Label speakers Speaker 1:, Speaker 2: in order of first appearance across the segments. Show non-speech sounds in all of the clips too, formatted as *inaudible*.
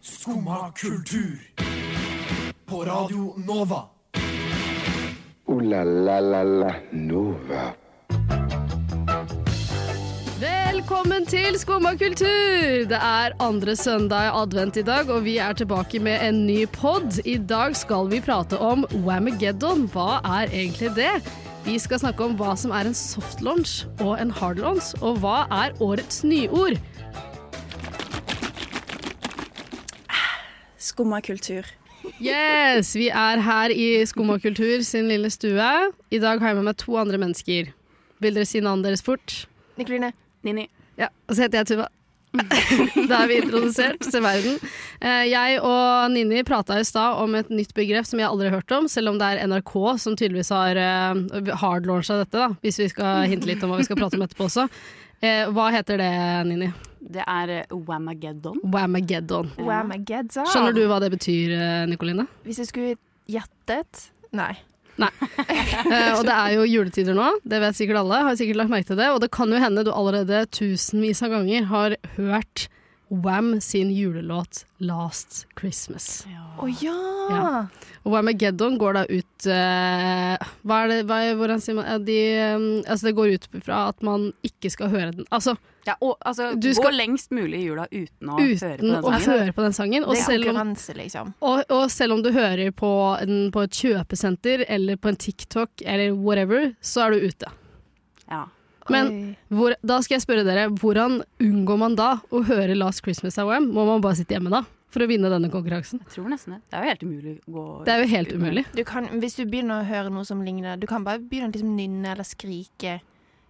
Speaker 1: Skumma kultur. På Radio Nova.
Speaker 2: Ooh la la la la Nova.
Speaker 3: Velkommen til Skumma kultur! Det er andre søndag i advent i dag, og vi er tilbake med en ny pod. I dag skal vi prate om Wamageddon. Hva er egentlig det? Vi skal snakke om hva som er en soft launch og en hard launch, og hva er årets nyord?
Speaker 4: Skumma kultur.
Speaker 3: Yes, vi er her i Skumma kultur sin lille stue. I dag har jeg med meg to andre mennesker. Vil dere si navnet deres fort?
Speaker 4: Nikoline. Nini.
Speaker 3: Ja, og så heter jeg Tuva. *laughs* da er vi introdusert til verden. Eh, Jeg og Nini prata i stad om et nytt begrep som jeg aldri har hørt om, selv om det er NRK som tydeligvis har eh, hardlauncha dette, da, hvis vi skal hinte litt om hva vi skal prate om etterpå også. Eh, Hva heter det, Nini?
Speaker 5: Det er eh, Whamageddon.
Speaker 3: Wamageddon.
Speaker 4: Wamageddon.
Speaker 3: Skjønner du hva det betyr, eh, Nikoline?
Speaker 4: Hvis jeg skulle gjettet Nei.
Speaker 3: Eh, og det er jo juletider nå, det vet sikkert alle. Har sikkert lagt merke til det. Og det kan jo hende du allerede tusenvis av ganger har hørt Wham sin julelåt 'Last Christmas'.
Speaker 4: Å ja.
Speaker 3: Ja. Og Whamageddon går da ut eh, Hva er det hva er, Hvordan sier man eh, de, eh, Altså, det går ut fra at man ikke skal høre den. Altså
Speaker 5: Ja, og, altså,
Speaker 3: Du
Speaker 5: gå
Speaker 3: skal-
Speaker 5: lengst mulig i jula uten å høre på
Speaker 3: uten
Speaker 5: den
Speaker 3: å
Speaker 5: sangen.
Speaker 3: høre på den sangen. Og
Speaker 4: Det er
Speaker 3: selv om
Speaker 4: konkurranse, liksom.
Speaker 3: og, og selv om du hører på den på et kjøpesenter eller på en TikTok eller whatever, så er du ute.
Speaker 5: Ja.
Speaker 3: Men
Speaker 4: Oi.
Speaker 3: hvor, da skal jeg spørre dere, hvordan unngår man da å høre Last Christmas av Wham? Må man bare sitte hjemme da, for å vinne denne konkurransen?
Speaker 5: Jeg tror nesten det. Det er jo helt umulig å gå
Speaker 3: Det er jo helt umulig.
Speaker 4: du kan, Hvis du begynner å høre noe som ligner Du kan bare begynne å liksom nynne eller skrike.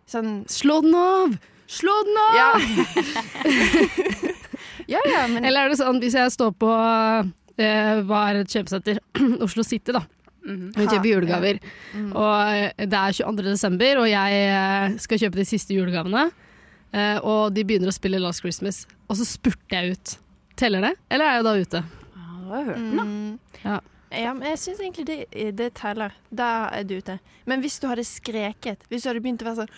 Speaker 4: Sånn
Speaker 3: Slå den av! Slå den av!
Speaker 4: Ja. ja, ja, men
Speaker 3: Eller er det sånn, hvis jeg står på eh, hva er et kjøpesenter? *clears throat* Oslo City, da.
Speaker 5: Mhm.
Speaker 3: Hun kjøper
Speaker 4: Ha, Mhm.
Speaker 3: julegaver. Og eh, det er 22. desember, og jeg eh, skal kjøpe de siste julegavene. Eh, og de begynner å spille Last Christmas, og så spurter jeg ut. Teller det, eller er jeg da ute?
Speaker 5: Ja, du har jo hørt den, da.
Speaker 4: mm,
Speaker 3: Ja.
Speaker 4: Ja, men jeg syns egentlig det, det teller. Da er du ute. Men hvis du hadde skreket, hvis du hadde begynt å være sånn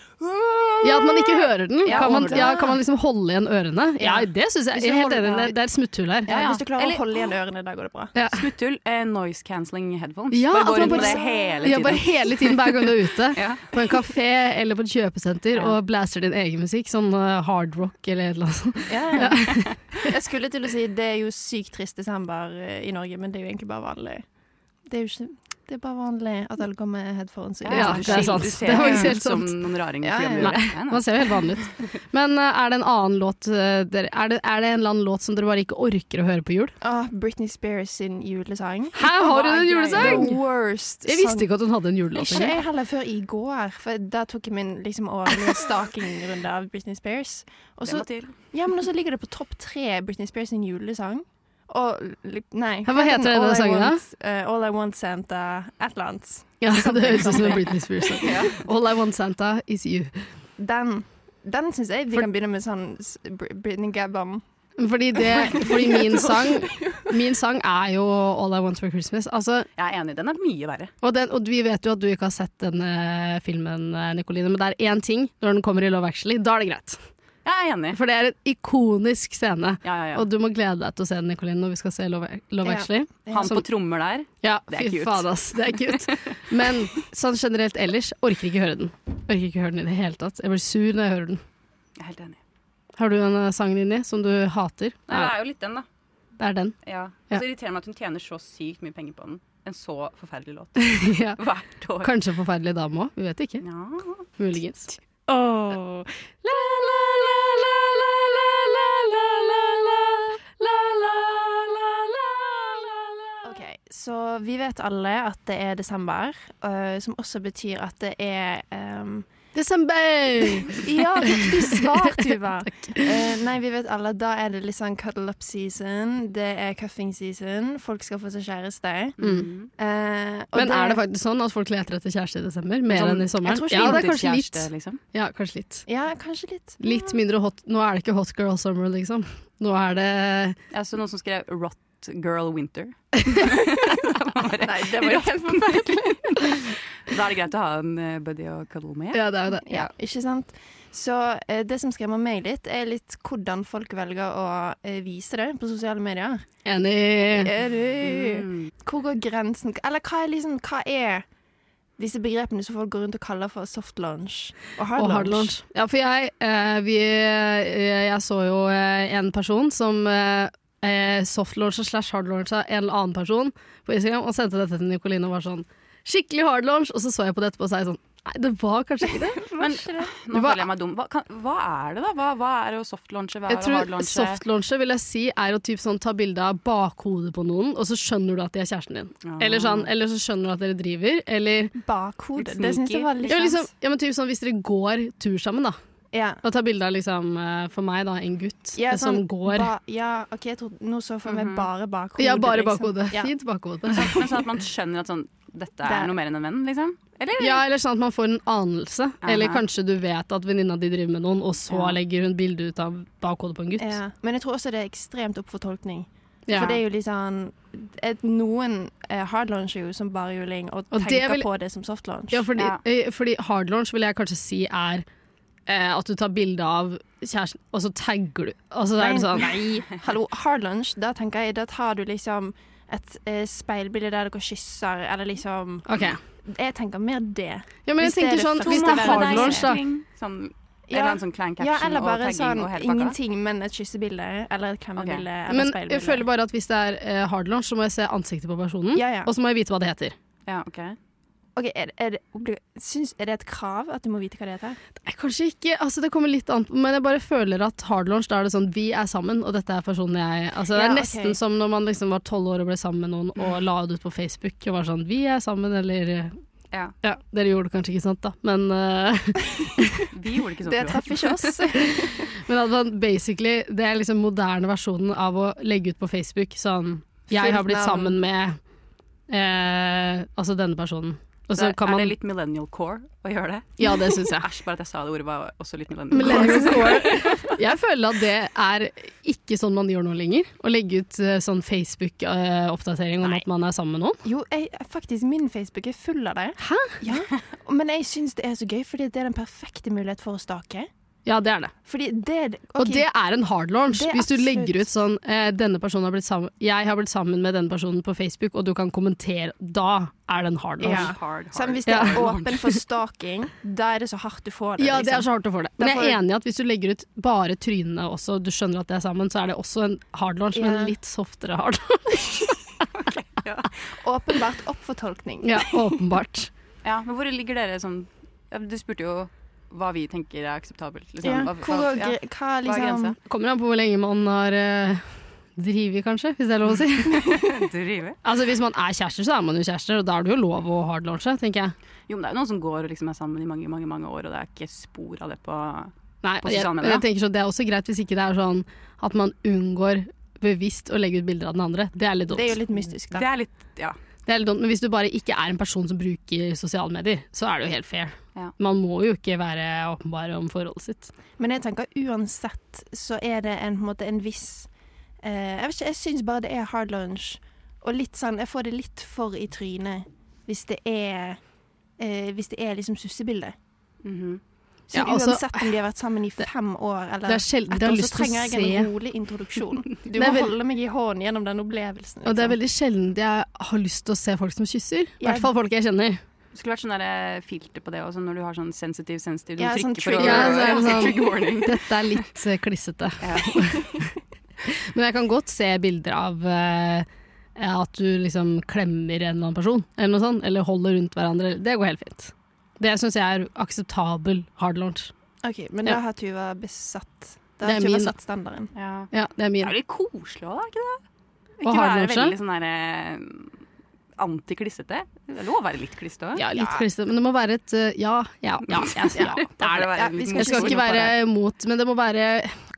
Speaker 3: Ja, At man ikke hører den.
Speaker 5: Ja,
Speaker 3: Kan man,
Speaker 5: overhodet.
Speaker 3: ja, kan man liksom holde igjen ørene? Ja,
Speaker 4: Ja.
Speaker 3: det syns jeg.
Speaker 4: Hvis
Speaker 3: jeg
Speaker 4: du
Speaker 3: er helt
Speaker 4: holder-
Speaker 3: enig, det, det er et smutthull her.
Speaker 4: ja,
Speaker 5: ja.
Speaker 4: Hvis du klarer
Speaker 5: Eller-
Speaker 4: å holde igjen ørene, da går det bra.
Speaker 3: Ja.
Speaker 5: Smutthull, eh, noise cancelling headphones.
Speaker 3: Ja,
Speaker 5: bare
Speaker 3: at
Speaker 5: gå
Speaker 3: man
Speaker 5: rundt med
Speaker 3: bare-
Speaker 5: det hele
Speaker 3: Ja,
Speaker 5: tiden.
Speaker 3: bare hele tiden hver gang du er ute.
Speaker 5: *laughs* Ja.
Speaker 3: På en kafé eller på et kjøpesenter
Speaker 5: Ja.
Speaker 3: og blaster din egen musikk. Sånn eh, hard rock eller et eller annet sånt. *laughs*
Speaker 4: Ja. *laughs* jeg skulle til å si det er jo sykt trist desember eh, i Norge, men det er jo egentlig bare vanlig. Det er jo ikke Det er bare vanlig at alle går med headphones. i
Speaker 5: Ja,
Speaker 3: Ja,
Speaker 5: du
Speaker 3: det er
Speaker 5: skil-
Speaker 3: sant.
Speaker 5: Du ser
Speaker 3: Det er
Speaker 5: ikke
Speaker 3: faktisk helt
Speaker 5: ut som
Speaker 3: sant.
Speaker 5: noen raringer.
Speaker 4: Ja,
Speaker 5: på
Speaker 4: ja,
Speaker 5: jobb.
Speaker 3: ja.
Speaker 5: Nei, nei.
Speaker 3: Man ser jo helt vanlig ut. Men eh, er det en annen låt eh, dere, er, det, er det en eller annen låt som dere bare ikke orker å høre på jul?
Speaker 4: Ah, Britney Spears sin julesang.
Speaker 3: Her har hun en
Speaker 4: The
Speaker 3: julesang!
Speaker 4: worst
Speaker 3: Jeg visste ikke at hun hadde en julelåt
Speaker 4: Ikke
Speaker 3: engang.
Speaker 4: jeg heller før i går, for da tok jeg min liksom årlige stakingrunde av Britney Spears. Og
Speaker 5: Det
Speaker 4: så
Speaker 5: må til.
Speaker 4: ja, men også ligger det på topp tre Britney Spears sin julesang. Og li- nei
Speaker 3: Hva heter den
Speaker 4: All I
Speaker 3: sangen da?
Speaker 4: Want, eh, All I Want Santa, et eller annet.
Speaker 3: Ja, *laughs* det høres ut som en Britney
Speaker 5: *laughs*
Speaker 3: Spears-sang. All I Want Santa Is You.
Speaker 4: Den, den syns jeg vi
Speaker 3: For-
Speaker 4: kan begynne med sånn s- Br- Britney Gabbam.
Speaker 3: Fordi,
Speaker 5: *laughs*
Speaker 3: det, fordi min, sang, min sang er jo All I Want for Christmas. Altså,
Speaker 5: Jeg er enig, den er mye verre.
Speaker 3: og, den, og vi vet jo at du ikke har sett denne filmen, eh, Nicoline, men det er én ting når den kommer i Love Actually. Da er det greit.
Speaker 5: Jeg er enig.
Speaker 3: For det er en ikonisk scene.
Speaker 5: Ja, ja, ja.
Speaker 3: Og du må glede deg til å se den, Nicoline, når vi skal se Love, Love
Speaker 4: Ja.
Speaker 3: Actually.
Speaker 5: Han
Speaker 3: som-
Speaker 5: på trommer der.
Speaker 3: Ja,
Speaker 5: Det er
Speaker 3: fy
Speaker 5: cute.
Speaker 3: faen ass, det er cute.
Speaker 5: *laughs*
Speaker 3: Men sånn generelt ellers, orker ikke høre den. Orker ikke høre den i det hele tatt. Jeg blir sur når jeg hører den.
Speaker 5: Jeg er helt enig.
Speaker 3: Har du en eh, sang inni som du hater?
Speaker 5: Nei, det er jo litt den, da.
Speaker 3: det er den. *laughs*
Speaker 5: Ja.
Speaker 3: Ja.
Speaker 5: Og så irriterer det meg at hun tjener så sykt mye penger på den. En så forferdelig låt. *laughs*
Speaker 3: ja.
Speaker 5: Hvert år.
Speaker 3: Kanskje forferdelig dame òg, vi vet ikke.
Speaker 5: Ja.
Speaker 3: Muligens.
Speaker 4: OK, så vi vet alle at det er desember, øh, som også betyr at det er ehm,
Speaker 3: Desember!
Speaker 4: *laughs*
Speaker 3: *laughs*
Speaker 4: Ja, riktig svar, *laughs* Tuva! Eh, nei, vi vet alle. Da er det litt sånn cuddle up season. Det er cuffing season. Folk skal få seg kjæreste.
Speaker 5: Mm.
Speaker 4: Eh, og
Speaker 3: Men er det faktisk sånn at folk leter etter kjæreste i desember? Mer
Speaker 5: Sånn-
Speaker 3: enn i sommeren?
Speaker 4: jeg tror ikke
Speaker 3: Ja, det er kanskje litt.
Speaker 5: Kjæreste, liksom.
Speaker 3: Ja, kanskje litt.
Speaker 4: Ja, kanskje litt.
Speaker 3: Litt mindre hot Nå er det ikke hot girl summer, liksom. Nå er det
Speaker 5: Jeg så noen som skrev 'Rot Girl
Speaker 3: *laughs*
Speaker 5: Winter'. *laughs*
Speaker 4: Nei, det var jo helt
Speaker 5: forferdelig. da er det greit å ha en eh, buddy å cuddle med.
Speaker 3: Ja, det er jo det.
Speaker 4: Ja, ikke sant? Så eh, det som skremmer meg litt, er litt hvordan folk velger å eh, vise det på sosiale medier.
Speaker 3: Enig.
Speaker 4: Er du? Hvor går grensen? Eller hva er, liksom, hva er disse begrepene som folk går rundt og kaller for soft launch og hard,
Speaker 3: Og hard launch. Ja, for jeg, eh, vi, eh, jeg så jo eh, en person som eh, eh, softlauncha slash hardlauncha en eller annen person på Instagram og sendte dette til Nicoline og var sånn skikkelig hardlaunch, og så så jeg på det etterpå og sa jeg sånn Nei, det var kanskje ikke det.
Speaker 4: *laughs*
Speaker 5: Men nå
Speaker 3: Hva-
Speaker 5: føler jeg meg dum. Hva, kan, hva er det, da? Hva, hva er å softlaunche? Hva
Speaker 3: Jeg
Speaker 5: er å
Speaker 3: tror
Speaker 4: eh.
Speaker 5: hardlaunche?
Speaker 3: Softlauncher vil jeg si er å typ sånn, ta bilde av bakhodet på noen, og så skjønner du at de er kjæresten din.
Speaker 4: Ah.
Speaker 5: Ja.
Speaker 3: Eller, sånn, eller så skjønner du at dere driver. Eller
Speaker 4: Bakhode.
Speaker 5: Litt
Speaker 4: Det syns jeg var litt
Speaker 3: ja, men
Speaker 4: kjent.
Speaker 3: liksom, ja, men typ sånn, Hvis dere går tur sammen, da.
Speaker 4: ja.
Speaker 3: Og ta bilde av liksom, eh, for meg, da, en gutt
Speaker 4: Ja,
Speaker 3: eh, som
Speaker 4: sånn
Speaker 3: går. Mhm.
Speaker 4: Ba, ja, OK, jeg trodde Nå så for meg bare bakhodet.
Speaker 3: ja, bare
Speaker 4: liksom.
Speaker 3: bakhodet.
Speaker 4: Ja.
Speaker 3: Fint bakhode.
Speaker 5: Men sånn at man skjønner at sånn Dette
Speaker 4: Det-
Speaker 5: er noe mer enn en venn, liksom? Eller?
Speaker 3: Ja, eller sånn at man får en anelse. Eller
Speaker 5: Aha.
Speaker 3: kanskje du vet at venninna di driver med noen, og så
Speaker 5: Ja.
Speaker 3: legger hun bilde ut av bakhodet på en gutt.
Speaker 4: Ja. Men jeg tror også det er ekstremt opp for tolkning.
Speaker 3: Ja.
Speaker 4: For det er jo litt sånn et, Noen eh, hard launcher jo som bare juling, og,
Speaker 3: Og det
Speaker 4: tenker
Speaker 3: vil-
Speaker 4: på det som soft launch.
Speaker 3: Ja, fordi,
Speaker 5: Ja.
Speaker 3: eh, fordi hard launch vil jeg kanskje si er eh, at du tar bilde av kjæresten, og så tagger du. Altså, da er det sånn,
Speaker 4: nei. Hallo, hard lunch, da tenker jeg Da tar du liksom et eh, speilbilde der dere kysser, eller liksom
Speaker 3: ok.
Speaker 4: Jeg tenker mer det.
Speaker 3: Ja, men jeg
Speaker 4: Hvis det er
Speaker 3: tenker
Speaker 4: det
Speaker 3: sånn,
Speaker 4: første
Speaker 3: hvis det
Speaker 4: med
Speaker 3: er
Speaker 4: deg,
Speaker 3: hard launch, da.
Speaker 5: Sånn,
Speaker 4: Ja.
Speaker 5: Eller en sånn klein caption
Speaker 4: Ja, eller
Speaker 5: og
Speaker 4: bare
Speaker 5: tagging
Speaker 4: sånn
Speaker 5: og hele pakka.
Speaker 4: ingenting, men et kyssebilde, eller et klemmebilde, eller
Speaker 3: Men
Speaker 4: speilbilde.
Speaker 3: jeg føler bare at hvis det er eh, hard launch, så må jeg se ansiktet på personen,
Speaker 4: Ja, ja.
Speaker 3: og så må jeg vite hva det heter.
Speaker 5: Ja, ok.
Speaker 4: Ok, er, er, det, obli- syns, er det et krav at du må vite hva det heter?
Speaker 3: Nei, kanskje ikke, altså det kommer litt an på, men jeg bare føler at hard launch, da er det sånn, vi er sammen, og dette er personen jeg, altså det er
Speaker 4: Ja, ok.
Speaker 3: nesten som når man liksom var 12 år og ble sammen med noen, og
Speaker 5: Mm.
Speaker 3: la det ut på Facebook, og var sånn, vi er sammen, eller, eh,
Speaker 5: Ja.
Speaker 3: ja, dere gjorde det kanskje ikke sant da, men... eh, *laughs*
Speaker 5: Vi gjorde ikke sånn. tror jeg.
Speaker 4: Det traff ikke oss.
Speaker 3: Men at man basically, det er liksom moderne versjonen av å legge ut på Facebook sånn Jeg har blitt
Speaker 4: Fullt navn.
Speaker 3: sammen med eh, altså denne personen. Og så
Speaker 5: Så
Speaker 3: kan
Speaker 5: Er det
Speaker 3: man
Speaker 5: litt millennial core å gjøre det?
Speaker 3: Ja, det syns
Speaker 5: *laughs*
Speaker 3: jeg.
Speaker 5: Æsj, bare at jeg sa det ordet var også litt millennial core.
Speaker 3: Millennial core. Jeg føler at det er ikke sånn man gjør nå lenger. Å legge ut eh, sånn Facebook-oppdatering om at man er sammen med noen.
Speaker 4: Jo, jeg, faktisk, min Facebook er full av det.
Speaker 3: Hæ?
Speaker 4: Ja, *laughs* men jeg syns det er så gøy, fordi det er den perfekte mulighet for å stake.
Speaker 3: Ja, det er det.
Speaker 4: Fordi det er
Speaker 3: Og det er en hard launch.
Speaker 4: Det er
Speaker 3: Hvis du
Speaker 4: absolutt.
Speaker 3: legger ut sånn eh, denne personen har blitt sammen, 'Jeg har blitt sammen med denne personen på Facebook', og du kan kommentere, da er det en hard launch.
Speaker 4: Ja.
Speaker 5: Hard, hard.
Speaker 4: Sånn, hvis det er
Speaker 5: Ja.
Speaker 4: åpen for staking, da er det så hardt du får det.
Speaker 3: Ja, det er
Speaker 4: liksom.
Speaker 3: så hardt å få det. Men
Speaker 4: Derfor-
Speaker 3: jeg er enig i at hvis du legger ut bare trynene også, og du skjønner at det er sammen, så er det også en hard launch,
Speaker 4: Ja.
Speaker 3: men litt softere hard launch.
Speaker 4: Åpenbart opp for tolkning.
Speaker 3: Ja, *laughs* åpenbart.
Speaker 5: Ja, men hvor ligger dere sånn ja, Du spurte jo hva vi tenker er akseptabelt. Liksom.
Speaker 4: Ja,
Speaker 5: Hva-
Speaker 4: Hvor,
Speaker 5: hva- ja.
Speaker 4: *laughs* gre- hva,
Speaker 5: Hva er
Speaker 4: liksom,
Speaker 5: grensa?
Speaker 3: Kommer an på hvor lenge man har eh, drevet, kanskje, hvis det er lov å si.
Speaker 5: Drive.
Speaker 3: Altså Hvis man er kjærester, så er man jo kjærester, og da er det jo lov å hard launche, tenker jeg.
Speaker 5: Jo, men det er jo noen som går og liksom er sammen i mange, mange mange år, og det er ikke spor av det på
Speaker 3: Nei,
Speaker 5: På
Speaker 3: jeg,
Speaker 5: sosiale
Speaker 3: men
Speaker 5: medier.
Speaker 3: jeg tenker så Det er også greit hvis ikke det er sånn at man unngår bevisst å legge ut bilder av den andre. Det er litt dumt.
Speaker 4: det er jo litt mystisk,
Speaker 5: Det
Speaker 4: da.
Speaker 5: er litt Ja.
Speaker 3: Det er litt dumt, men hvis du bare ikke er en person som bruker sosiale medier, så er det jo helt fair.
Speaker 5: Ja.
Speaker 3: Man må jo ikke være åpenbar om forholdet sitt.
Speaker 4: Men jeg tenker uansett så er det en, på en, måte, en viss eh, Jeg vet ikke, jeg syns bare det er hard lunch. Og litt sånn Jeg får det litt for i trynet hvis det er eh, Hvis det er liksom sussebilde.
Speaker 5: mhm.
Speaker 4: Så
Speaker 3: Ja, altså-
Speaker 4: uansett om de har vært sammen i fem år eller
Speaker 3: det er sjelden
Speaker 4: ett
Speaker 3: jeg har
Speaker 4: år,
Speaker 3: lyst
Speaker 4: så
Speaker 3: til å
Speaker 4: trenger jeg en
Speaker 3: se.
Speaker 4: rolig
Speaker 3: *laughs*
Speaker 4: introduksjon. Du
Speaker 3: Det er
Speaker 4: må
Speaker 3: vel-
Speaker 4: holde meg i hånden gjennom den
Speaker 3: Og
Speaker 4: opplevelsen.
Speaker 3: det er
Speaker 4: liksom.
Speaker 3: veldig sjelden jeg har lyst til å se folk som kysser. I
Speaker 4: Jeg-
Speaker 3: hvert fall folk jeg kjenner.
Speaker 5: Det skulle vært sånn der, eh, filter på det også, når du har sånn sensitiv, sensitiv Du
Speaker 4: Ja, sånn
Speaker 5: trykker for å
Speaker 4: trigger-
Speaker 3: Ja, så er det
Speaker 5: *laughs* Ja,
Speaker 3: sånn-
Speaker 5: trigger
Speaker 4: *laughs*
Speaker 5: warning.
Speaker 3: *laughs* Dette er litt eh, klissete.
Speaker 5: Ja.
Speaker 3: *laughs* Men jeg kan godt se bilder av eh, at du liksom klemmer en eller annen person, eller noe sånt. Eller holder rundt hverandre. Det går helt fint. Det syns jeg er akseptabel hard launch.
Speaker 4: Ok, men
Speaker 3: Ja.
Speaker 4: da har Tuva besatt Da
Speaker 3: Det er
Speaker 4: har Tuva
Speaker 3: min, da.
Speaker 4: satt standarden.
Speaker 5: Ja.
Speaker 3: Ja, det er
Speaker 5: Det er
Speaker 3: min.
Speaker 5: jo litt koselig òg, da? Ikke det?
Speaker 3: Og
Speaker 5: Ikke
Speaker 3: hard
Speaker 5: være
Speaker 3: launch,
Speaker 5: veldig sånn der eh, antiklissete. Det er lov å være litt klissete òg.
Speaker 3: Ja, litt klissete, men det må være et eh, ja, ja, ja. ja, *laughs* ja.
Speaker 5: Da får det være
Speaker 4: Ja,
Speaker 5: en
Speaker 4: vi
Speaker 5: liten
Speaker 4: skal
Speaker 3: Jeg skal
Speaker 5: koseord
Speaker 3: ikke
Speaker 5: på det.
Speaker 3: være imot, men det må være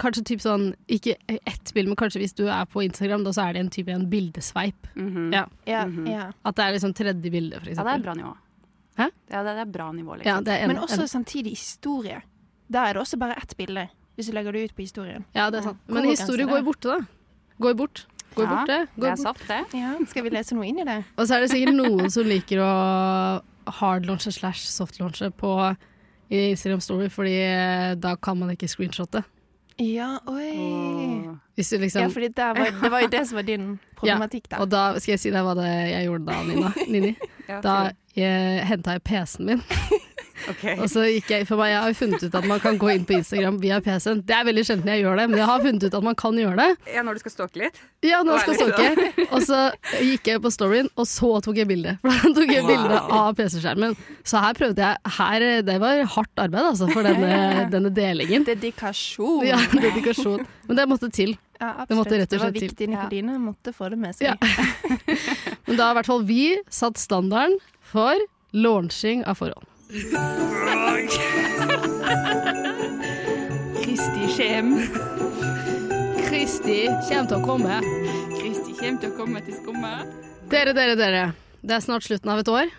Speaker 3: kanskje typ sånn Ikke ett bilde, men kanskje hvis du er på Instagram, da så er det en type en bildesveip.
Speaker 5: Mhm.
Speaker 3: Ja.
Speaker 4: Ja,
Speaker 5: Mhm.
Speaker 4: ja.
Speaker 3: At det er liksom tredje bilde, for
Speaker 5: Ja, det er
Speaker 3: eksempel.
Speaker 5: bra nivå.
Speaker 3: Hæ?
Speaker 5: Ja, det, det er bra
Speaker 3: Ja,
Speaker 5: nivå, liksom.
Speaker 3: det er en,
Speaker 4: Men også samtidig historie. Da er det også bare ett bilde, hvis du legger det ut på historien.
Speaker 3: ja, det er sant.
Speaker 4: Ja.
Speaker 3: Men
Speaker 4: Hvor
Speaker 3: historie
Speaker 4: grenser
Speaker 3: går
Speaker 4: det?
Speaker 3: borte, da. Går bort. Går
Speaker 5: Ja,
Speaker 3: bort, det.
Speaker 5: det
Speaker 3: Går
Speaker 5: er
Speaker 3: bort.
Speaker 5: saft, det.
Speaker 4: Ja, Skal vi lese noe inn i det? *laughs*
Speaker 3: Og så er det sikkert noen som liker å hardlaunche slash softlaunche på i Instagram Story, fordi eh, da kan man ikke screenshotte.
Speaker 4: Ja, oi.
Speaker 5: Åh.
Speaker 3: Hvis du liksom
Speaker 4: Ja, fordi der var, det var jo det som
Speaker 3: *laughs*
Speaker 4: var din problematikk, da.
Speaker 3: Og da skal jeg si deg hva det jeg gjorde da,
Speaker 4: *laughs*
Speaker 3: Nina. Nini.
Speaker 5: Ja,
Speaker 3: Da
Speaker 5: fint.
Speaker 3: henta jeg PC-en min,
Speaker 5: Ok.
Speaker 3: og så gikk jeg For meg, jeg har jo funnet ut at man kan gå inn på Instagram via PC-en. Det er veldig sjelden jeg gjør det, men jeg har funnet ut at man kan gjøre det.
Speaker 5: *laughs* Ja, når du skal stalke litt?
Speaker 3: Ja, nå
Speaker 5: Nå er
Speaker 3: skal
Speaker 5: det ikke
Speaker 3: stalke. Og så gikk jeg på storyen, og så tok jeg bilde. For da tok jeg bilde av PC-skjermen. Så her prøvde jeg her, Det var hardt arbeid, altså, for denne, denne delingen.
Speaker 4: Dedikasjon.
Speaker 3: Ja, dedikasjon. Men det måtte til.
Speaker 4: Ja,
Speaker 3: Det måtte rett og
Speaker 4: absolutt. Det var
Speaker 3: slett til.
Speaker 4: viktig. Nikoline måtte få det med seg.
Speaker 3: Ja. Men da har i hvert fall vi satt standarden for launching av *laughs* forhold.
Speaker 5: Kristi kjem.
Speaker 3: Kristi kommer til å komme.
Speaker 5: Kristi kjem til å komme til skumma.
Speaker 3: Dere, dere, dere. Det er snart slutten av et år.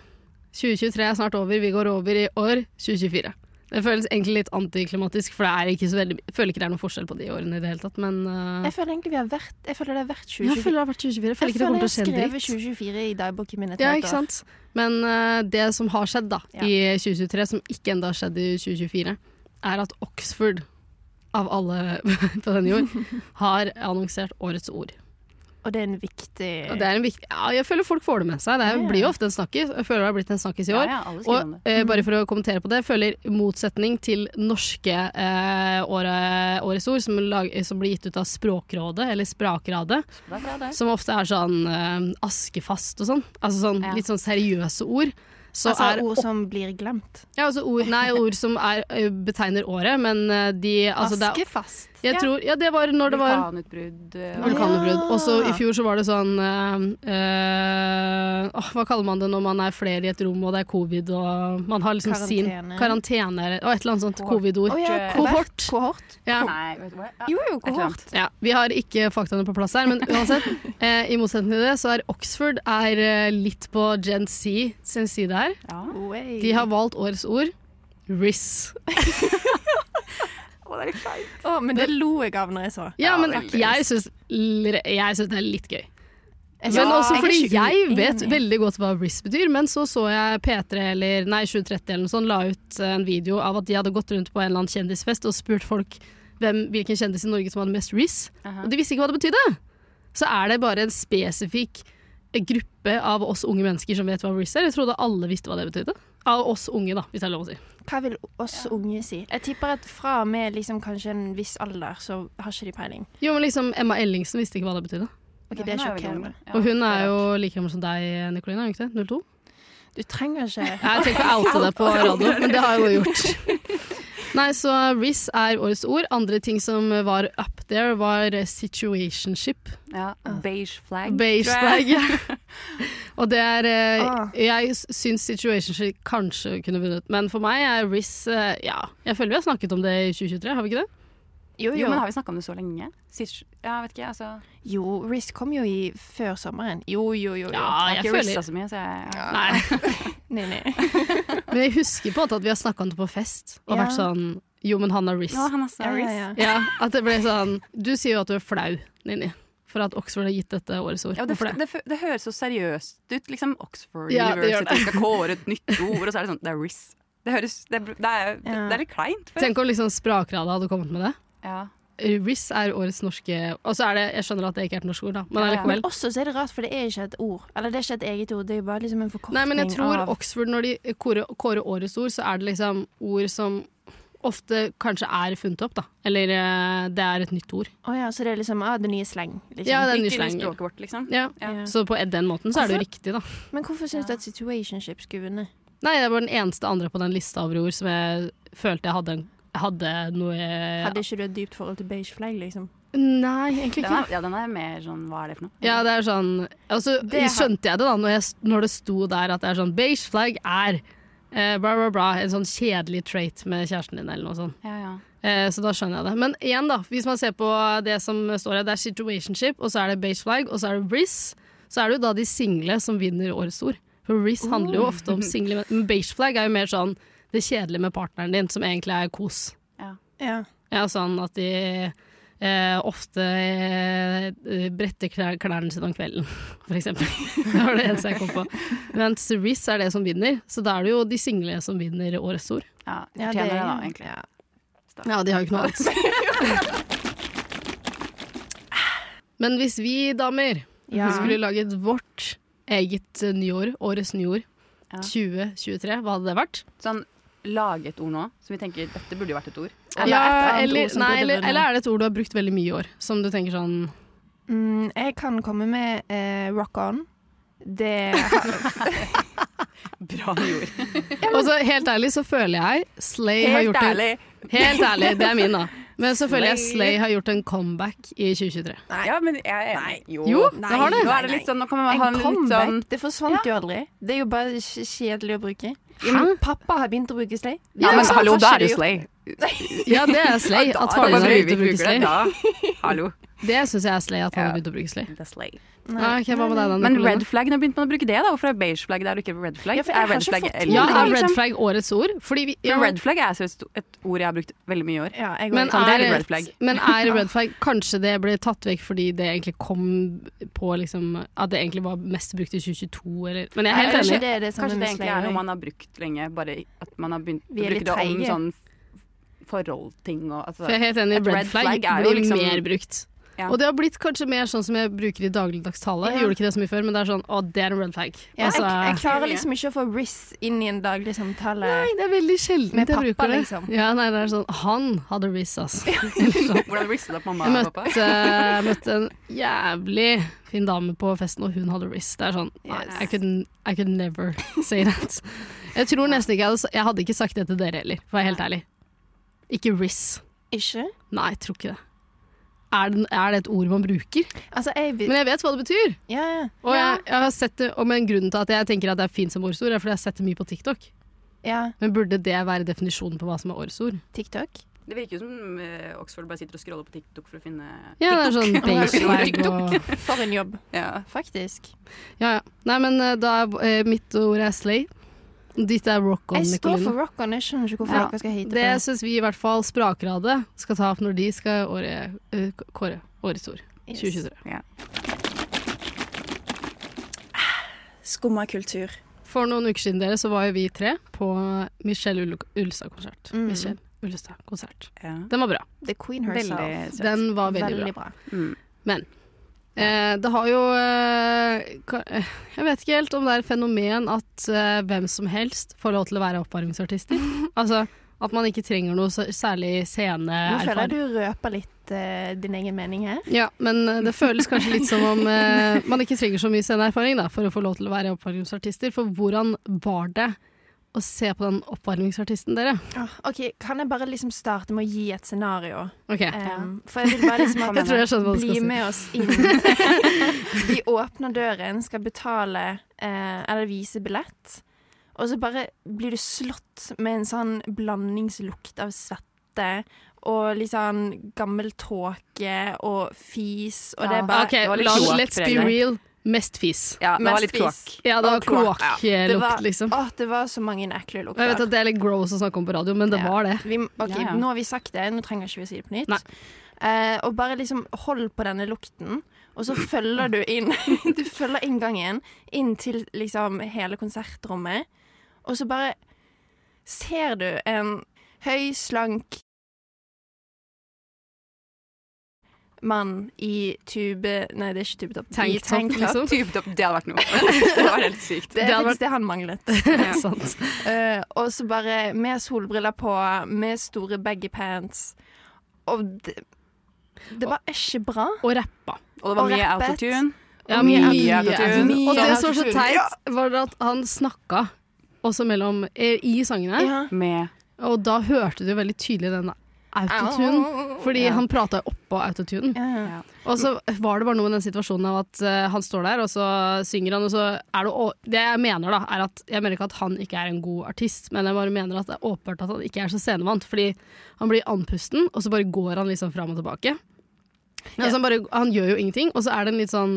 Speaker 3: 2023 er snart over. Vi går over i år 2024. Det føles egentlig litt antiklimatisk, for det er ikke så veldig, jeg føler ikke det er noen forskjell på de årene i det hele tatt, men øh,
Speaker 4: Jeg føler egentlig vi har vært Jeg føler det har vært
Speaker 3: Ja,
Speaker 4: 2024.
Speaker 3: Jeg føler det har vært 2024. Jeg føler ikke det kommer til
Speaker 4: jeg
Speaker 3: å skje
Speaker 4: skrev
Speaker 3: dritt.
Speaker 4: 2024 i dagboken min et
Speaker 3: Ja,
Speaker 4: halvt
Speaker 3: ikke
Speaker 4: år.
Speaker 3: sant? Men eh, det som har skjedd da,
Speaker 4: Ja.
Speaker 3: i 2023, som ikke enda har skjedd i 2024, er at Oxford, av alle *laughs* på denne jord,
Speaker 5: *laughs*
Speaker 3: har annonsert årets ord.
Speaker 4: Og det er en viktig
Speaker 3: Og det er en viktig, ja, jeg føler folk får det med seg. Det er,
Speaker 4: Ja, ja.
Speaker 3: blir jo ofte en snakkis. Jeg føler det har blitt en snakkis i år.
Speaker 5: Ja, ja, alle skriver om
Speaker 3: Og
Speaker 5: det. Mhm.
Speaker 3: eh, bare for å kommentere på det, jeg føler motsetning til norske eh, året, Årets ord, som, lag, som blir gitt ut av Språkrådet, eller Sprakradet,
Speaker 5: Det er bra, det.
Speaker 3: som ofte er sånn eh, askefast og sånn. Altså sånn
Speaker 5: Ja.
Speaker 3: litt sånn seriøse ord. Så
Speaker 4: altså,
Speaker 3: er
Speaker 4: ord som blir glemt.
Speaker 3: Ja, altså ord, nei, ord som er, ø, betegner året, men ø, de altså, det er-
Speaker 4: Askefast.
Speaker 3: Jeg tror, ja, det var når det var
Speaker 5: Vulkanutbrudd. eh,
Speaker 4: Vulkan-
Speaker 3: vulkanutbrudd.
Speaker 4: Ja.
Speaker 3: Og så i fjor så var det sånn ø, ø, åh, Hva kaller man det når man er flere i et rom og det er covid og man har liksom sin
Speaker 4: Karantene.
Speaker 3: Karantene og et eller annet sånt covid-ord.
Speaker 4: Å ja,
Speaker 3: Eh, Kohort.
Speaker 4: kohort.
Speaker 3: Ja.
Speaker 5: Nei, vet du hva? Ja.
Speaker 4: Jo, jo,
Speaker 5: Et eller
Speaker 4: kohort.
Speaker 5: annet.
Speaker 3: Ja, vi har ikke faktaene på plass her, men uansett. eh, I motsetning til det så er Oxford er eh, litt på Gen Z sin side her.
Speaker 5: Ja.
Speaker 4: Oi.
Speaker 3: De har valgt årets ord. Riz.
Speaker 4: Å, men det lo jeg av når jeg så.
Speaker 3: Ja, men
Speaker 5: veldig.
Speaker 3: jeg syns jeg synes det er litt gøy.
Speaker 4: Jeg
Speaker 3: Men
Speaker 4: synes-
Speaker 3: også
Speaker 4: jeg er
Speaker 3: fordi
Speaker 4: ikke
Speaker 3: jeg vet
Speaker 4: uenig.
Speaker 3: veldig godt hva RIS betyr, men så så jeg P3 eller nei, 730 eller noe sånt la ut eh, en video av at de hadde gått rundt på en eller annen kjendisfest og spurt folk hvem, hvilken kjendis i Norge som hadde mest RIS,
Speaker 5: Aha.
Speaker 3: og de visste ikke hva det betydde. Så er det bare en spesifikk gruppe av oss unge mennesker som vet hva RIS er. Jeg trodde alle visste hva det betydde. Av oss unge, da, hvis det er lov å si.
Speaker 4: Hva vil oss unge si? Jeg tipper at fra og med liksom kanskje en viss alder, så har ikke de peiling.
Speaker 3: Jo, men liksom Emma Ellingsen visste ikke hva det betydde.
Speaker 4: Ok, Det
Speaker 5: Hun
Speaker 4: er
Speaker 5: jo veldig
Speaker 4: sjokkerende.
Speaker 5: ung, da. Ja,
Speaker 3: Og hun
Speaker 5: det
Speaker 3: er jo like gammel som deg, Nicoline, er hun ikke det? 02?
Speaker 4: Du trenger
Speaker 3: *laughs*
Speaker 4: ikke
Speaker 3: Jeg tenker å oute det på radio, men det har jeg jo gjort. Nei, så RIS er årets ord. Andre ting som var up there, var situationship.
Speaker 5: Ja. Beige flag.
Speaker 3: Beige
Speaker 5: tror jeg.
Speaker 3: flag. ja. Og det er eh,
Speaker 4: Ah.
Speaker 3: Jeg syns situationship kanskje kunne vunnet, men for meg er RIS eh, Ja, jeg føler vi har snakket om det i 2023, har vi ikke det?
Speaker 5: *laughs*
Speaker 4: Jo,
Speaker 5: Jo,
Speaker 4: jo.
Speaker 5: men har vi snakka om det så lenge? Situ- ja, vet ikke, altså.
Speaker 4: Jo, Riz kom jo i før sommeren. Jo, jo, jo. jo.
Speaker 3: Ja,
Speaker 5: Jeg har
Speaker 3: jeg
Speaker 5: ikke rista
Speaker 3: føler
Speaker 5: så mye, så jeg ja.
Speaker 3: Nei.
Speaker 4: Nei,
Speaker 3: *laughs*
Speaker 4: nei.
Speaker 3: Men jeg husker på en måte at vi har snakka om det på fest, og
Speaker 4: Ja.
Speaker 3: vært sånn Jo, men han har RIS.
Speaker 5: Ja, han er så
Speaker 4: Ja, ja,
Speaker 5: risk.
Speaker 4: ja.
Speaker 3: Ja, at det ble sånn Du sier jo at du er flau, Nini, for at Oxford har gitt dette årets ord.
Speaker 5: Ja, det,
Speaker 3: Hvorfor
Speaker 5: det, fø- det høres så seriøst ut. Liksom Oxford
Speaker 3: Ja, det gjør
Speaker 5: University skal kåre et nytt ord, og så er det sånn Det er RIS. Det, høres, det, er- det, er, det,
Speaker 4: Ja.
Speaker 5: er litt kleint. føler jeg.
Speaker 3: Tenk om liksom Sprakradet hadde kommet med det.
Speaker 5: Ja.
Speaker 3: RIS er årets norske Og så er det Jeg skjønner at det ikke er et norsk ord, da, men
Speaker 5: Ja, ja.
Speaker 3: allikevel.
Speaker 4: Også så er det rart, for det er ikke et ord. Eller det er ikke et eget ord, det er jo bare liksom en forkortning
Speaker 3: Nei, men jeg tror
Speaker 4: av
Speaker 3: Oxford, når de kårer, kårer årets ord, så er det liksom ord som ofte kanskje er funnet opp, da. Eller eh, det er et nytt ord.
Speaker 4: Å ja, så det er liksom ah, det nye sleng. Liksom.
Speaker 3: Ja, det er en ny
Speaker 5: Ikke i
Speaker 3: slang.
Speaker 5: språket vårt, liksom.
Speaker 3: Ja.
Speaker 5: Ja.
Speaker 3: Så på den måten så er det jo
Speaker 4: Hvorfor?
Speaker 3: riktig, da.
Speaker 4: Men hvorfor syns du at situationship skulle vunnet?
Speaker 3: Nei, det var den eneste andre på den lista over ord som jeg følte jeg hadde, hadde noe
Speaker 4: Hadde ikke du et dypt forhold til beige flagg, liksom?
Speaker 3: Nei, egentlig
Speaker 5: Den
Speaker 3: ikke.
Speaker 5: er, ja, den er mer sånn Hva er det for noe?
Speaker 3: Ja, det er sånn altså,
Speaker 4: Det har-
Speaker 3: Skjønte jeg det da når, jeg, når det sto der at det er sånn Beige flag er eh, bra, bra, bra En sånn kjedelig trait med kjæresten din eller noe sånt
Speaker 5: Ja, ja.
Speaker 3: eh, Så da skjønner jeg det Men igjen da, hvis man ser på det som står her Det er situationship, og så er det beige flag Og så er det RIS Så er det jo da de single som vinner årets ord For RIS handler
Speaker 4: Oh.
Speaker 3: jo ofte om single Men beige flag er jo mer sånn Det kjedelige med partneren din som egentlig er kos
Speaker 4: Ja.
Speaker 3: ja, sånn at de eh, ofte eh, bretter klær, klærne sine om kvelden, *laughs* for eksempel. det var det eneste jeg kom på. Mens Riz er det som vinner, så da er det jo de single som vinner årets ord.
Speaker 5: Ja, de fortjener det, da, egentlig.
Speaker 4: Ja.
Speaker 3: Ja, de har jo ikke noe annet. *laughs* Men hvis vi damer
Speaker 4: Ja.
Speaker 3: skulle laget vårt eget eh, nyår, årets nyord,
Speaker 5: Ja.
Speaker 3: 2023, hva hadde det vært?
Speaker 5: Sånn lage et ord nå, som vi tenker dette burde jo vært et ord.
Speaker 4: Eller
Speaker 3: ja,
Speaker 4: et annet
Speaker 3: eller,
Speaker 4: ord som
Speaker 3: nei,
Speaker 4: burde
Speaker 3: eller,
Speaker 4: vunnet.
Speaker 3: eller er det et ord du har brukt veldig mye i år, som du tenker sånn
Speaker 4: Mm, jeg kan komme med eh, rock on. *laughs* Det
Speaker 5: Bra ord.
Speaker 3: Og så helt ærlig så føler jeg Slay har gjort en, Helt ærlig, det er min da Men så føler jeg
Speaker 5: Slay.
Speaker 3: Slay har gjort en comeback i 2023
Speaker 5: Ja, men jeg er enig.
Speaker 3: Jo,
Speaker 4: Nei,
Speaker 3: det har det
Speaker 5: Nå er det litt sånn, nå kan man ha
Speaker 4: En
Speaker 5: en litt
Speaker 4: comeback.
Speaker 5: sånn
Speaker 4: Det forsvant jo aldri. Det er jo bare kj- kjedelig å bruke.
Speaker 3: Ja, men-
Speaker 4: Pappa har begynt å bruke slay.
Speaker 5: Ja, men
Speaker 3: Ja,
Speaker 5: hallo,
Speaker 4: kanskje
Speaker 5: da er det
Speaker 4: det
Speaker 5: jo slay.
Speaker 3: Ja, det er Slay At faren din har begynt å bruke Slay
Speaker 5: Ja, hallo.
Speaker 3: Det synes jeg er Slay at han har
Speaker 5: Ja.
Speaker 3: begynt å bruke Slay
Speaker 5: Det er slay.
Speaker 3: ja, ok, hva med deg da,
Speaker 5: Men
Speaker 3: Nicolina?
Speaker 5: red flag, nå begynte man å bruke det da. Hvorfor er beige flag der og ikke red flag?
Speaker 4: Ja, for jeg har
Speaker 5: er red
Speaker 4: ikke
Speaker 5: flag
Speaker 4: fått
Speaker 5: eldre,
Speaker 3: Ja, er
Speaker 5: liksom?
Speaker 3: red flag årets ord? Fordi vi,
Speaker 5: For Red flag er seriøst et ord jeg har brukt veldig mye i år.
Speaker 4: Ja, jeg går
Speaker 3: men
Speaker 4: ut.
Speaker 5: Sånn, det
Speaker 3: er,
Speaker 5: er red flag.
Speaker 3: men er red flag Kanskje det ble tatt vekk fordi det egentlig kom på liksom, At det egentlig var mest brukt i 2022 eller. Men jeg er helt
Speaker 4: Kanskje
Speaker 3: enig
Speaker 4: det er det samme
Speaker 5: Kanskje det
Speaker 4: med
Speaker 5: egentlig er
Speaker 4: slay,
Speaker 5: noe
Speaker 4: også.
Speaker 5: man har brukt lenge, bare i- at man har begynt å
Speaker 4: Vi er
Speaker 5: bruke
Speaker 4: litt
Speaker 5: det om
Speaker 4: treige.
Speaker 5: sånn forhold-ting og altså,
Speaker 3: For jeg er helt enig,
Speaker 5: Et
Speaker 3: red,
Speaker 5: red
Speaker 3: flag,
Speaker 5: flag er jo
Speaker 3: blir
Speaker 5: liksom-
Speaker 3: mer brukt.
Speaker 5: Ja.
Speaker 3: Og det har blitt kanskje mer sånn som jeg bruker i dagligdags tale. Jeg
Speaker 4: Ja.
Speaker 3: gjorde ikke det så mye før, men det er sånn å, det er en red flag.
Speaker 4: Ja,
Speaker 3: altså,
Speaker 4: jeg, jeg klarer liksom ikke å få Riz inn i en daglig samtale.
Speaker 3: nei, det er veldig sjelden
Speaker 4: Med
Speaker 3: jeg
Speaker 4: pappa,
Speaker 3: bruker det.
Speaker 4: liksom.
Speaker 3: Ja, nei, det er sånn Han hadde riss, ass. *laughs* Eller sånn.
Speaker 5: Hvordan rister det på mamma
Speaker 3: Jeg
Speaker 5: og pappa?
Speaker 3: møtte, jeg møtte en jævlig fin dame på festen, og hun hadde riss. Det er sånn nei,
Speaker 4: Yes.
Speaker 3: I, could, I could never say that. Jeg tror nesten ikke jeg hadde, jeg hadde ikke sagt det til dere heller, for å være helt ærlig. Ikke riss.
Speaker 4: Ikke?
Speaker 3: Nei, jeg tror ikke det. Er det, er det et ord man bruker?
Speaker 4: Altså, jeg vil
Speaker 3: Men jeg vet hva det betyr.
Speaker 4: Ja, ja.
Speaker 3: Og jeg, jeg har sett det, og men grunnen til at jeg tenker at det er fint som ordsord, er fordi jeg har sett det mye på TikTok.
Speaker 4: ja.
Speaker 3: Men burde det være definisjonen på hva som er årdsord?
Speaker 4: TikTok.
Speaker 5: Det virker jo som eh, Oxford bare sitter og scroller på TikTok for å finne
Speaker 3: *laughs* Ja, det er sånn beige flag og
Speaker 5: TikTok.
Speaker 4: *laughs* For en jobb,
Speaker 5: Ja.
Speaker 4: faktisk.
Speaker 3: Ja, ja. Nei, men eh, da er eh, mitt ord er slay. Ditt er rock on,
Speaker 4: Jeg står
Speaker 3: Nicoline.
Speaker 4: for rock on. Jeg skjønner ikke hvorfor
Speaker 3: Ja,
Speaker 4: dere skal hate på
Speaker 3: Det syns vi i hvert fall Sprakradet skal ta opp når de skal åre, eh, kåre årets ord.
Speaker 4: Yes.
Speaker 3: 2023.
Speaker 6: Skumma kultur.
Speaker 3: For noen uker siden dere så var jo vi tre på Michelle Ull Ulstad-konsert.
Speaker 4: Mm.
Speaker 3: Michelle Ulstad-konsert.
Speaker 5: Ja.
Speaker 3: Den var bra.
Speaker 4: The Queen herself.
Speaker 5: Veldig søt.
Speaker 3: Den var veldig bra.
Speaker 4: bra.
Speaker 5: Mm.
Speaker 3: Eh, det har jo eh, ka- eh, Jeg vet ikke helt om det er et fenomen at eh, hvem som helst får lov til å være
Speaker 4: *laughs*
Speaker 3: oppvarmingsartister. altså at man ikke trenger noe så- særlig
Speaker 4: Nå føler jeg
Speaker 3: sceneerfaring.
Speaker 4: du røper litt eh, din egen mening her.
Speaker 3: Ja, men eh, det føles kanskje litt som om eh, man ikke trenger så mye sceneerfaring da, for å få lov til å være oppvarmingsartister. For hvordan var det å se på den oppvarmingsartisten, dere?
Speaker 4: Ah, OK, kan jeg bare liksom starte med å gi et scenario?
Speaker 3: Ok,
Speaker 4: Um, for jeg vil bare liksom at
Speaker 3: Jeg tror jeg skjønner hva du skal
Speaker 4: bli
Speaker 3: si.
Speaker 4: med oss inn.
Speaker 3: *laughs*
Speaker 4: De åpner døren, skal betale eh, eller vise billett, og så bare blir du slått med en sånn blandingslukt av svette og litt sånn gammel tåke og fis, og det
Speaker 5: Ja.
Speaker 4: er bare
Speaker 3: Ok,
Speaker 5: det var litt
Speaker 3: la,
Speaker 5: kloakk,
Speaker 3: let's be
Speaker 5: Fredrik.
Speaker 3: real. Mest fis.
Speaker 5: ja, det var
Speaker 4: Mest
Speaker 5: litt kloakk.
Speaker 4: fis.
Speaker 3: Ja, det var
Speaker 4: Og kloakk. Det
Speaker 3: kloakklukt,
Speaker 4: var-
Speaker 3: liksom.
Speaker 4: Åh, det var så mange ekle
Speaker 3: Og Jeg vet
Speaker 4: lukter.
Speaker 3: at det er litt gross å snakke om på radio, men det
Speaker 4: Ja.
Speaker 3: var det.
Speaker 4: Vi, ok,
Speaker 5: Ja, ja.
Speaker 4: Nå har vi sagt det, nå trenger ikke vi å si det på nytt.
Speaker 3: Nei.
Speaker 4: Eh, og bare liksom hold på denne lukten, og så følger du inn *laughs* Du følger inngangen inn til liksom hele konsertrommet, og så bare ser du en høy, slank mann i tube Nei, det er ikke tubetopp. I
Speaker 3: Tanktop,
Speaker 4: tanktop.
Speaker 3: liksom.
Speaker 5: Tubetopp, det hadde vært noe. *laughs* Det var helt
Speaker 4: *laughs*
Speaker 5: sykt.
Speaker 4: Det
Speaker 3: Det hadde
Speaker 4: er
Speaker 3: vært-
Speaker 4: faktisk det han manglet.
Speaker 5: Ja.
Speaker 3: *laughs* Sant.
Speaker 4: Eh, og så bare med solbriller på, med store baggy pants. Og det, det var ikke bra.
Speaker 3: Og rappa.
Speaker 5: Og det var
Speaker 4: Og
Speaker 5: mye
Speaker 4: rappet.
Speaker 5: autotune.
Speaker 3: Ja,
Speaker 4: mye
Speaker 5: autotune.
Speaker 3: Og det
Speaker 4: Mye
Speaker 3: som var så
Speaker 4: autotune.
Speaker 3: teit, var at han snakka også mellom eh, i sangene,
Speaker 4: Ja.
Speaker 5: Med
Speaker 3: og da hørte du veldig tydelig den autotune. Fordi
Speaker 5: Ja.
Speaker 3: han prata jo oppå autotunen.
Speaker 4: Ja.
Speaker 3: Og så var det bare noe med den situasjonen av at eh, han står der, og så synger han, og så er det å- Det jeg mener, da, er at Jeg mener ikke at han ikke er en god artist, men jeg bare mener at det er åpenbart at han ikke er så scenevant. Fordi han blir andpusten, og så Altså, bare går han liksom fram og tilbake. Men så han, bare, han gjør jo ingenting, og så er det en litt sånn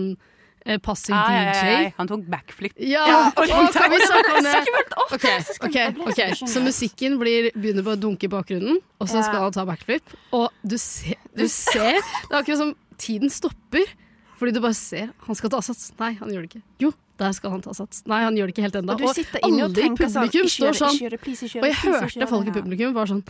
Speaker 3: eh, passiv
Speaker 5: Ai, ai,
Speaker 3: DJ.
Speaker 5: ai, ai. Han tok backflip.
Speaker 3: Ja,
Speaker 5: Ja,
Speaker 3: og kan vi snakke
Speaker 4: *laughs*
Speaker 3: om det?
Speaker 5: Skummelt! Åh,
Speaker 3: Ok, ok, ok. Så musikken blir, begynner på å dunke i bakgrunnen, og så skal han ta backflip. Og du ser, du ser Det er akkurat som tiden stopper, fordi du bare ser Han skal ta sats. Nei, han gjør det ikke. Jo, der skal han ta sats. Nei, han gjør det ikke helt ennå.
Speaker 4: Og du sitter inne og
Speaker 3: alle i
Speaker 4: tenker sånn
Speaker 3: publikum
Speaker 4: Ikke gjør
Speaker 3: står
Speaker 4: det,
Speaker 3: sånn.
Speaker 4: ikke gjør det, please,
Speaker 3: Og
Speaker 4: ikke gjør det.
Speaker 3: jeg
Speaker 4: please, ikke
Speaker 3: hørte
Speaker 4: gjør
Speaker 3: folk i
Speaker 4: det.
Speaker 3: publikum var sånn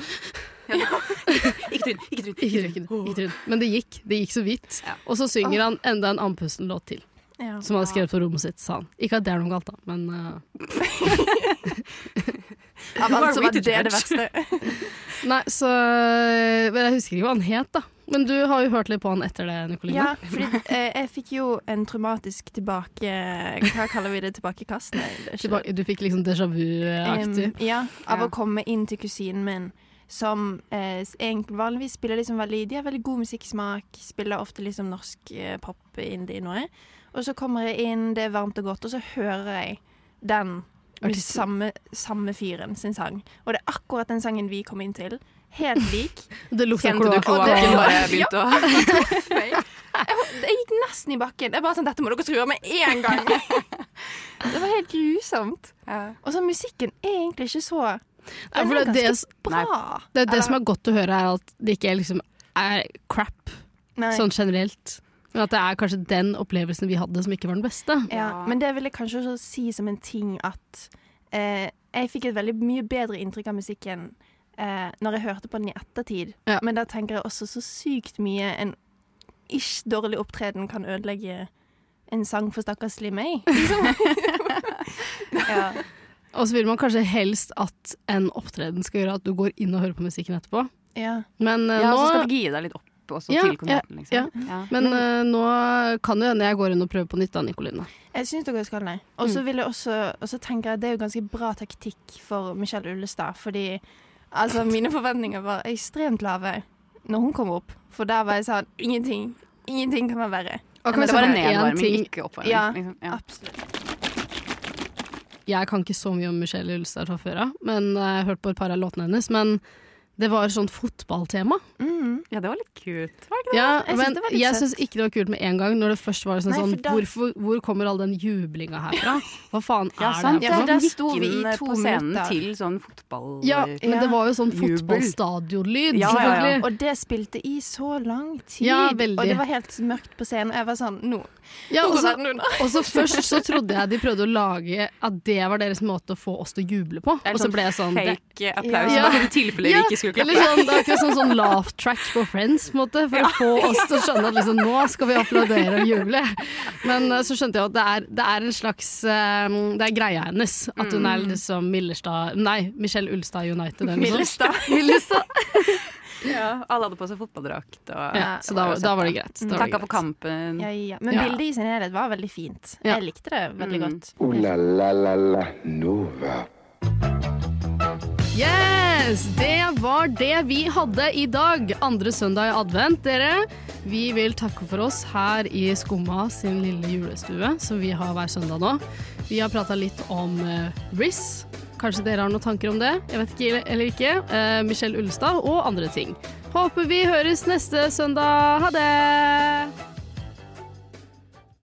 Speaker 5: Ikke tryn, ikke tryn.
Speaker 3: Ikke trykk den, ikke trykk den. Men det gikk. Det gikk så vidt. Og så synger han enda en andpusten låt til,
Speaker 4: Ja.
Speaker 3: som han har skrevet på rommet sitt, sa han. Ikke at det er noe galt, da, men eh,
Speaker 5: Ja, men
Speaker 4: Who are
Speaker 5: altså,
Speaker 4: we
Speaker 5: var
Speaker 4: to
Speaker 5: det det
Speaker 4: judge?
Speaker 3: *laughs*
Speaker 5: verste?
Speaker 3: Nei, så men Jeg husker ikke hva han het, da. Men du har jo hørt litt på han etter det,
Speaker 4: Ja,
Speaker 3: Nicoline.
Speaker 4: fordi eh, jeg fikk jo en traumatisk tilbake... Hva kaller vi det? Tilbakekast? Nei, det er ikke-
Speaker 3: Tilbake- Du fikk liksom déjà vu-aktig.
Speaker 4: Em, ja, av
Speaker 5: Ja.
Speaker 4: å komme inn til kusinen min, som eh, s- egentlig vanligvis spiller liksom veldig De har veldig god musikksmak, spiller ofte liksom norsk eh, pop, indie, noe. Og så kommer jeg inn, det er varmt og godt, og så hører jeg den mus-
Speaker 3: Artisten.
Speaker 4: samme, samme fyren sin sang. Og det er akkurat den sangen vi kom inn til. Helt
Speaker 5: *laughs*
Speaker 4: lik.
Speaker 3: det lukta
Speaker 5: Kjente du
Speaker 3: kloakk.
Speaker 4: kloakk?
Speaker 5: kloakken
Speaker 4: Ja.
Speaker 5: bare begynte å *laughs*
Speaker 4: Jeg gikk nesten i bakken. Jeg bare sånn, Dette må dere true med én
Speaker 5: *laughs*
Speaker 4: gang! det var helt grusomt.
Speaker 5: Ja.
Speaker 4: Og så musikken er egentlig ikke så
Speaker 3: Ja, for det, er det,
Speaker 5: Nei.
Speaker 4: bra.
Speaker 3: det, er det som er godt å høre, er at det ikke er liksom er crap
Speaker 4: Nei.
Speaker 3: sånn generelt. Men at det er kanskje den opplevelsen vi hadde som ikke var den beste.
Speaker 4: Ja,
Speaker 5: Ja.
Speaker 4: men det vil jeg kanskje også si som en ting at eh, jeg fikk et veldig mye bedre inntrykk av musikken eh, når jeg hørte på den i ettertid.
Speaker 3: Ja.
Speaker 4: Men da tenker jeg også så sykt mye en ikke dårlig opptreden kan ødelegge en sang for stakkarslig *laughs* meg.
Speaker 5: ja.
Speaker 3: Og så vil man kanskje helst at en opptreden skal gjøre at du går inn og hører på musikken etterpå.
Speaker 4: Ja.
Speaker 3: Men eh,
Speaker 5: ja, så skal
Speaker 3: nå
Speaker 5: du gire deg litt opp også
Speaker 3: Ja,
Speaker 5: til konserten, liksom.
Speaker 3: ja,
Speaker 5: Ja.
Speaker 3: men eh, nå kan det hende jeg går inn og prøver på nytt da, Nicoline.
Speaker 4: Jeg syns dere skal det. Og
Speaker 3: Mm.
Speaker 4: så vil jeg også, og så tenker jeg at det er jo ganske bra taktikk for Michelle Ullestad, fordi altså mine forventninger var ekstremt lave når hun kom opp. For der var jeg sånn Ingenting. Ingenting kan være verre.
Speaker 3: Og
Speaker 5: Men det var
Speaker 3: en
Speaker 5: en
Speaker 3: ting?
Speaker 5: nedvarming, ikke oppvarming.
Speaker 4: Ja.
Speaker 5: Liksom. Ja.
Speaker 4: Absolutt.
Speaker 3: Jeg kan ikke så mye om Michelle Ulstad fra før av, men eh, jeg har hørt på et par av låtene hennes. Men det var sånn fotballtema.
Speaker 4: Mm.
Speaker 5: ja, det var litt kult. Var det ikke det?
Speaker 3: Ja,
Speaker 4: jeg synes
Speaker 3: men
Speaker 4: det var litt
Speaker 3: jeg
Speaker 4: søtt.
Speaker 3: syns ikke det var kult med en gang, når det først var sånn,
Speaker 4: Nei, for
Speaker 3: sånn
Speaker 4: da-
Speaker 3: hvorfor, Hvor kommer all den jublinga herfra? Hva faen er
Speaker 5: Ja, sant.
Speaker 3: det?
Speaker 4: Ja,
Speaker 5: Ja,
Speaker 4: for der
Speaker 5: der gikk
Speaker 4: sto vi
Speaker 5: inn
Speaker 4: i to
Speaker 5: på scenen
Speaker 4: minutter.
Speaker 5: til sånn fotball...
Speaker 3: Ja, men
Speaker 4: Ja.
Speaker 3: det var jo sånn
Speaker 5: Jubel.
Speaker 3: fotballstadionlyd,
Speaker 5: Ja, ja, ja.
Speaker 3: selvfølgelig.
Speaker 4: Og det spilte i så lang tid.
Speaker 3: Ja, veldig.
Speaker 4: Og det var helt mørkt på scenen. Og jeg var sånn Nå.
Speaker 3: Ja, og
Speaker 4: nå
Speaker 3: så-
Speaker 4: går verden under.
Speaker 3: og så
Speaker 4: *laughs*
Speaker 3: først så trodde jeg de prøvde å lage at det var deres måte å få oss til å juble på,
Speaker 5: Det er
Speaker 3: og så ble jeg sånn det-
Speaker 5: Fake applaus,
Speaker 3: Ja.
Speaker 5: bare i tilfelle vi ikke skulle
Speaker 3: eller
Speaker 5: klappe.
Speaker 3: sånn, det er ikke sånn, sånn laugh track på Friends, på en måte, for å få oss til å skjønne at liksom, nå skal vi applaudere og juble. Men eh, så skjønte jeg at det er, det er en slags eh, Det er greia hennes. At hun
Speaker 5: Mm.
Speaker 3: er liksom Millestad Nei, Michelle Ulstad United. eller noe sånt. Millestad.
Speaker 5: Ja, alle hadde på seg fotballdrakt. Og
Speaker 3: Ja, så da, da var det greit. Da var det
Speaker 5: Takka Mm. for
Speaker 3: greit.
Speaker 5: kampen.
Speaker 4: Ja, ja. Men
Speaker 3: Ja.
Speaker 4: bildet i sin helhet var veldig fint.
Speaker 3: Ja.
Speaker 4: Jeg likte det
Speaker 5: Mm.
Speaker 4: veldig godt.
Speaker 2: Ooh la la la la Nova.
Speaker 3: Yes! Det var det vi hadde i dag. Andre søndag i advent, dere. Vi vil takke for oss her i Skumma sin lille julestue, som vi har hver søndag nå. Vi har prata litt om eh, Riz. Kanskje dere har noen tanker om det? Jeg vet ikke eller ikke. Eh, Michelle Ulstad og andre ting. Håper vi høres neste søndag. Ha det!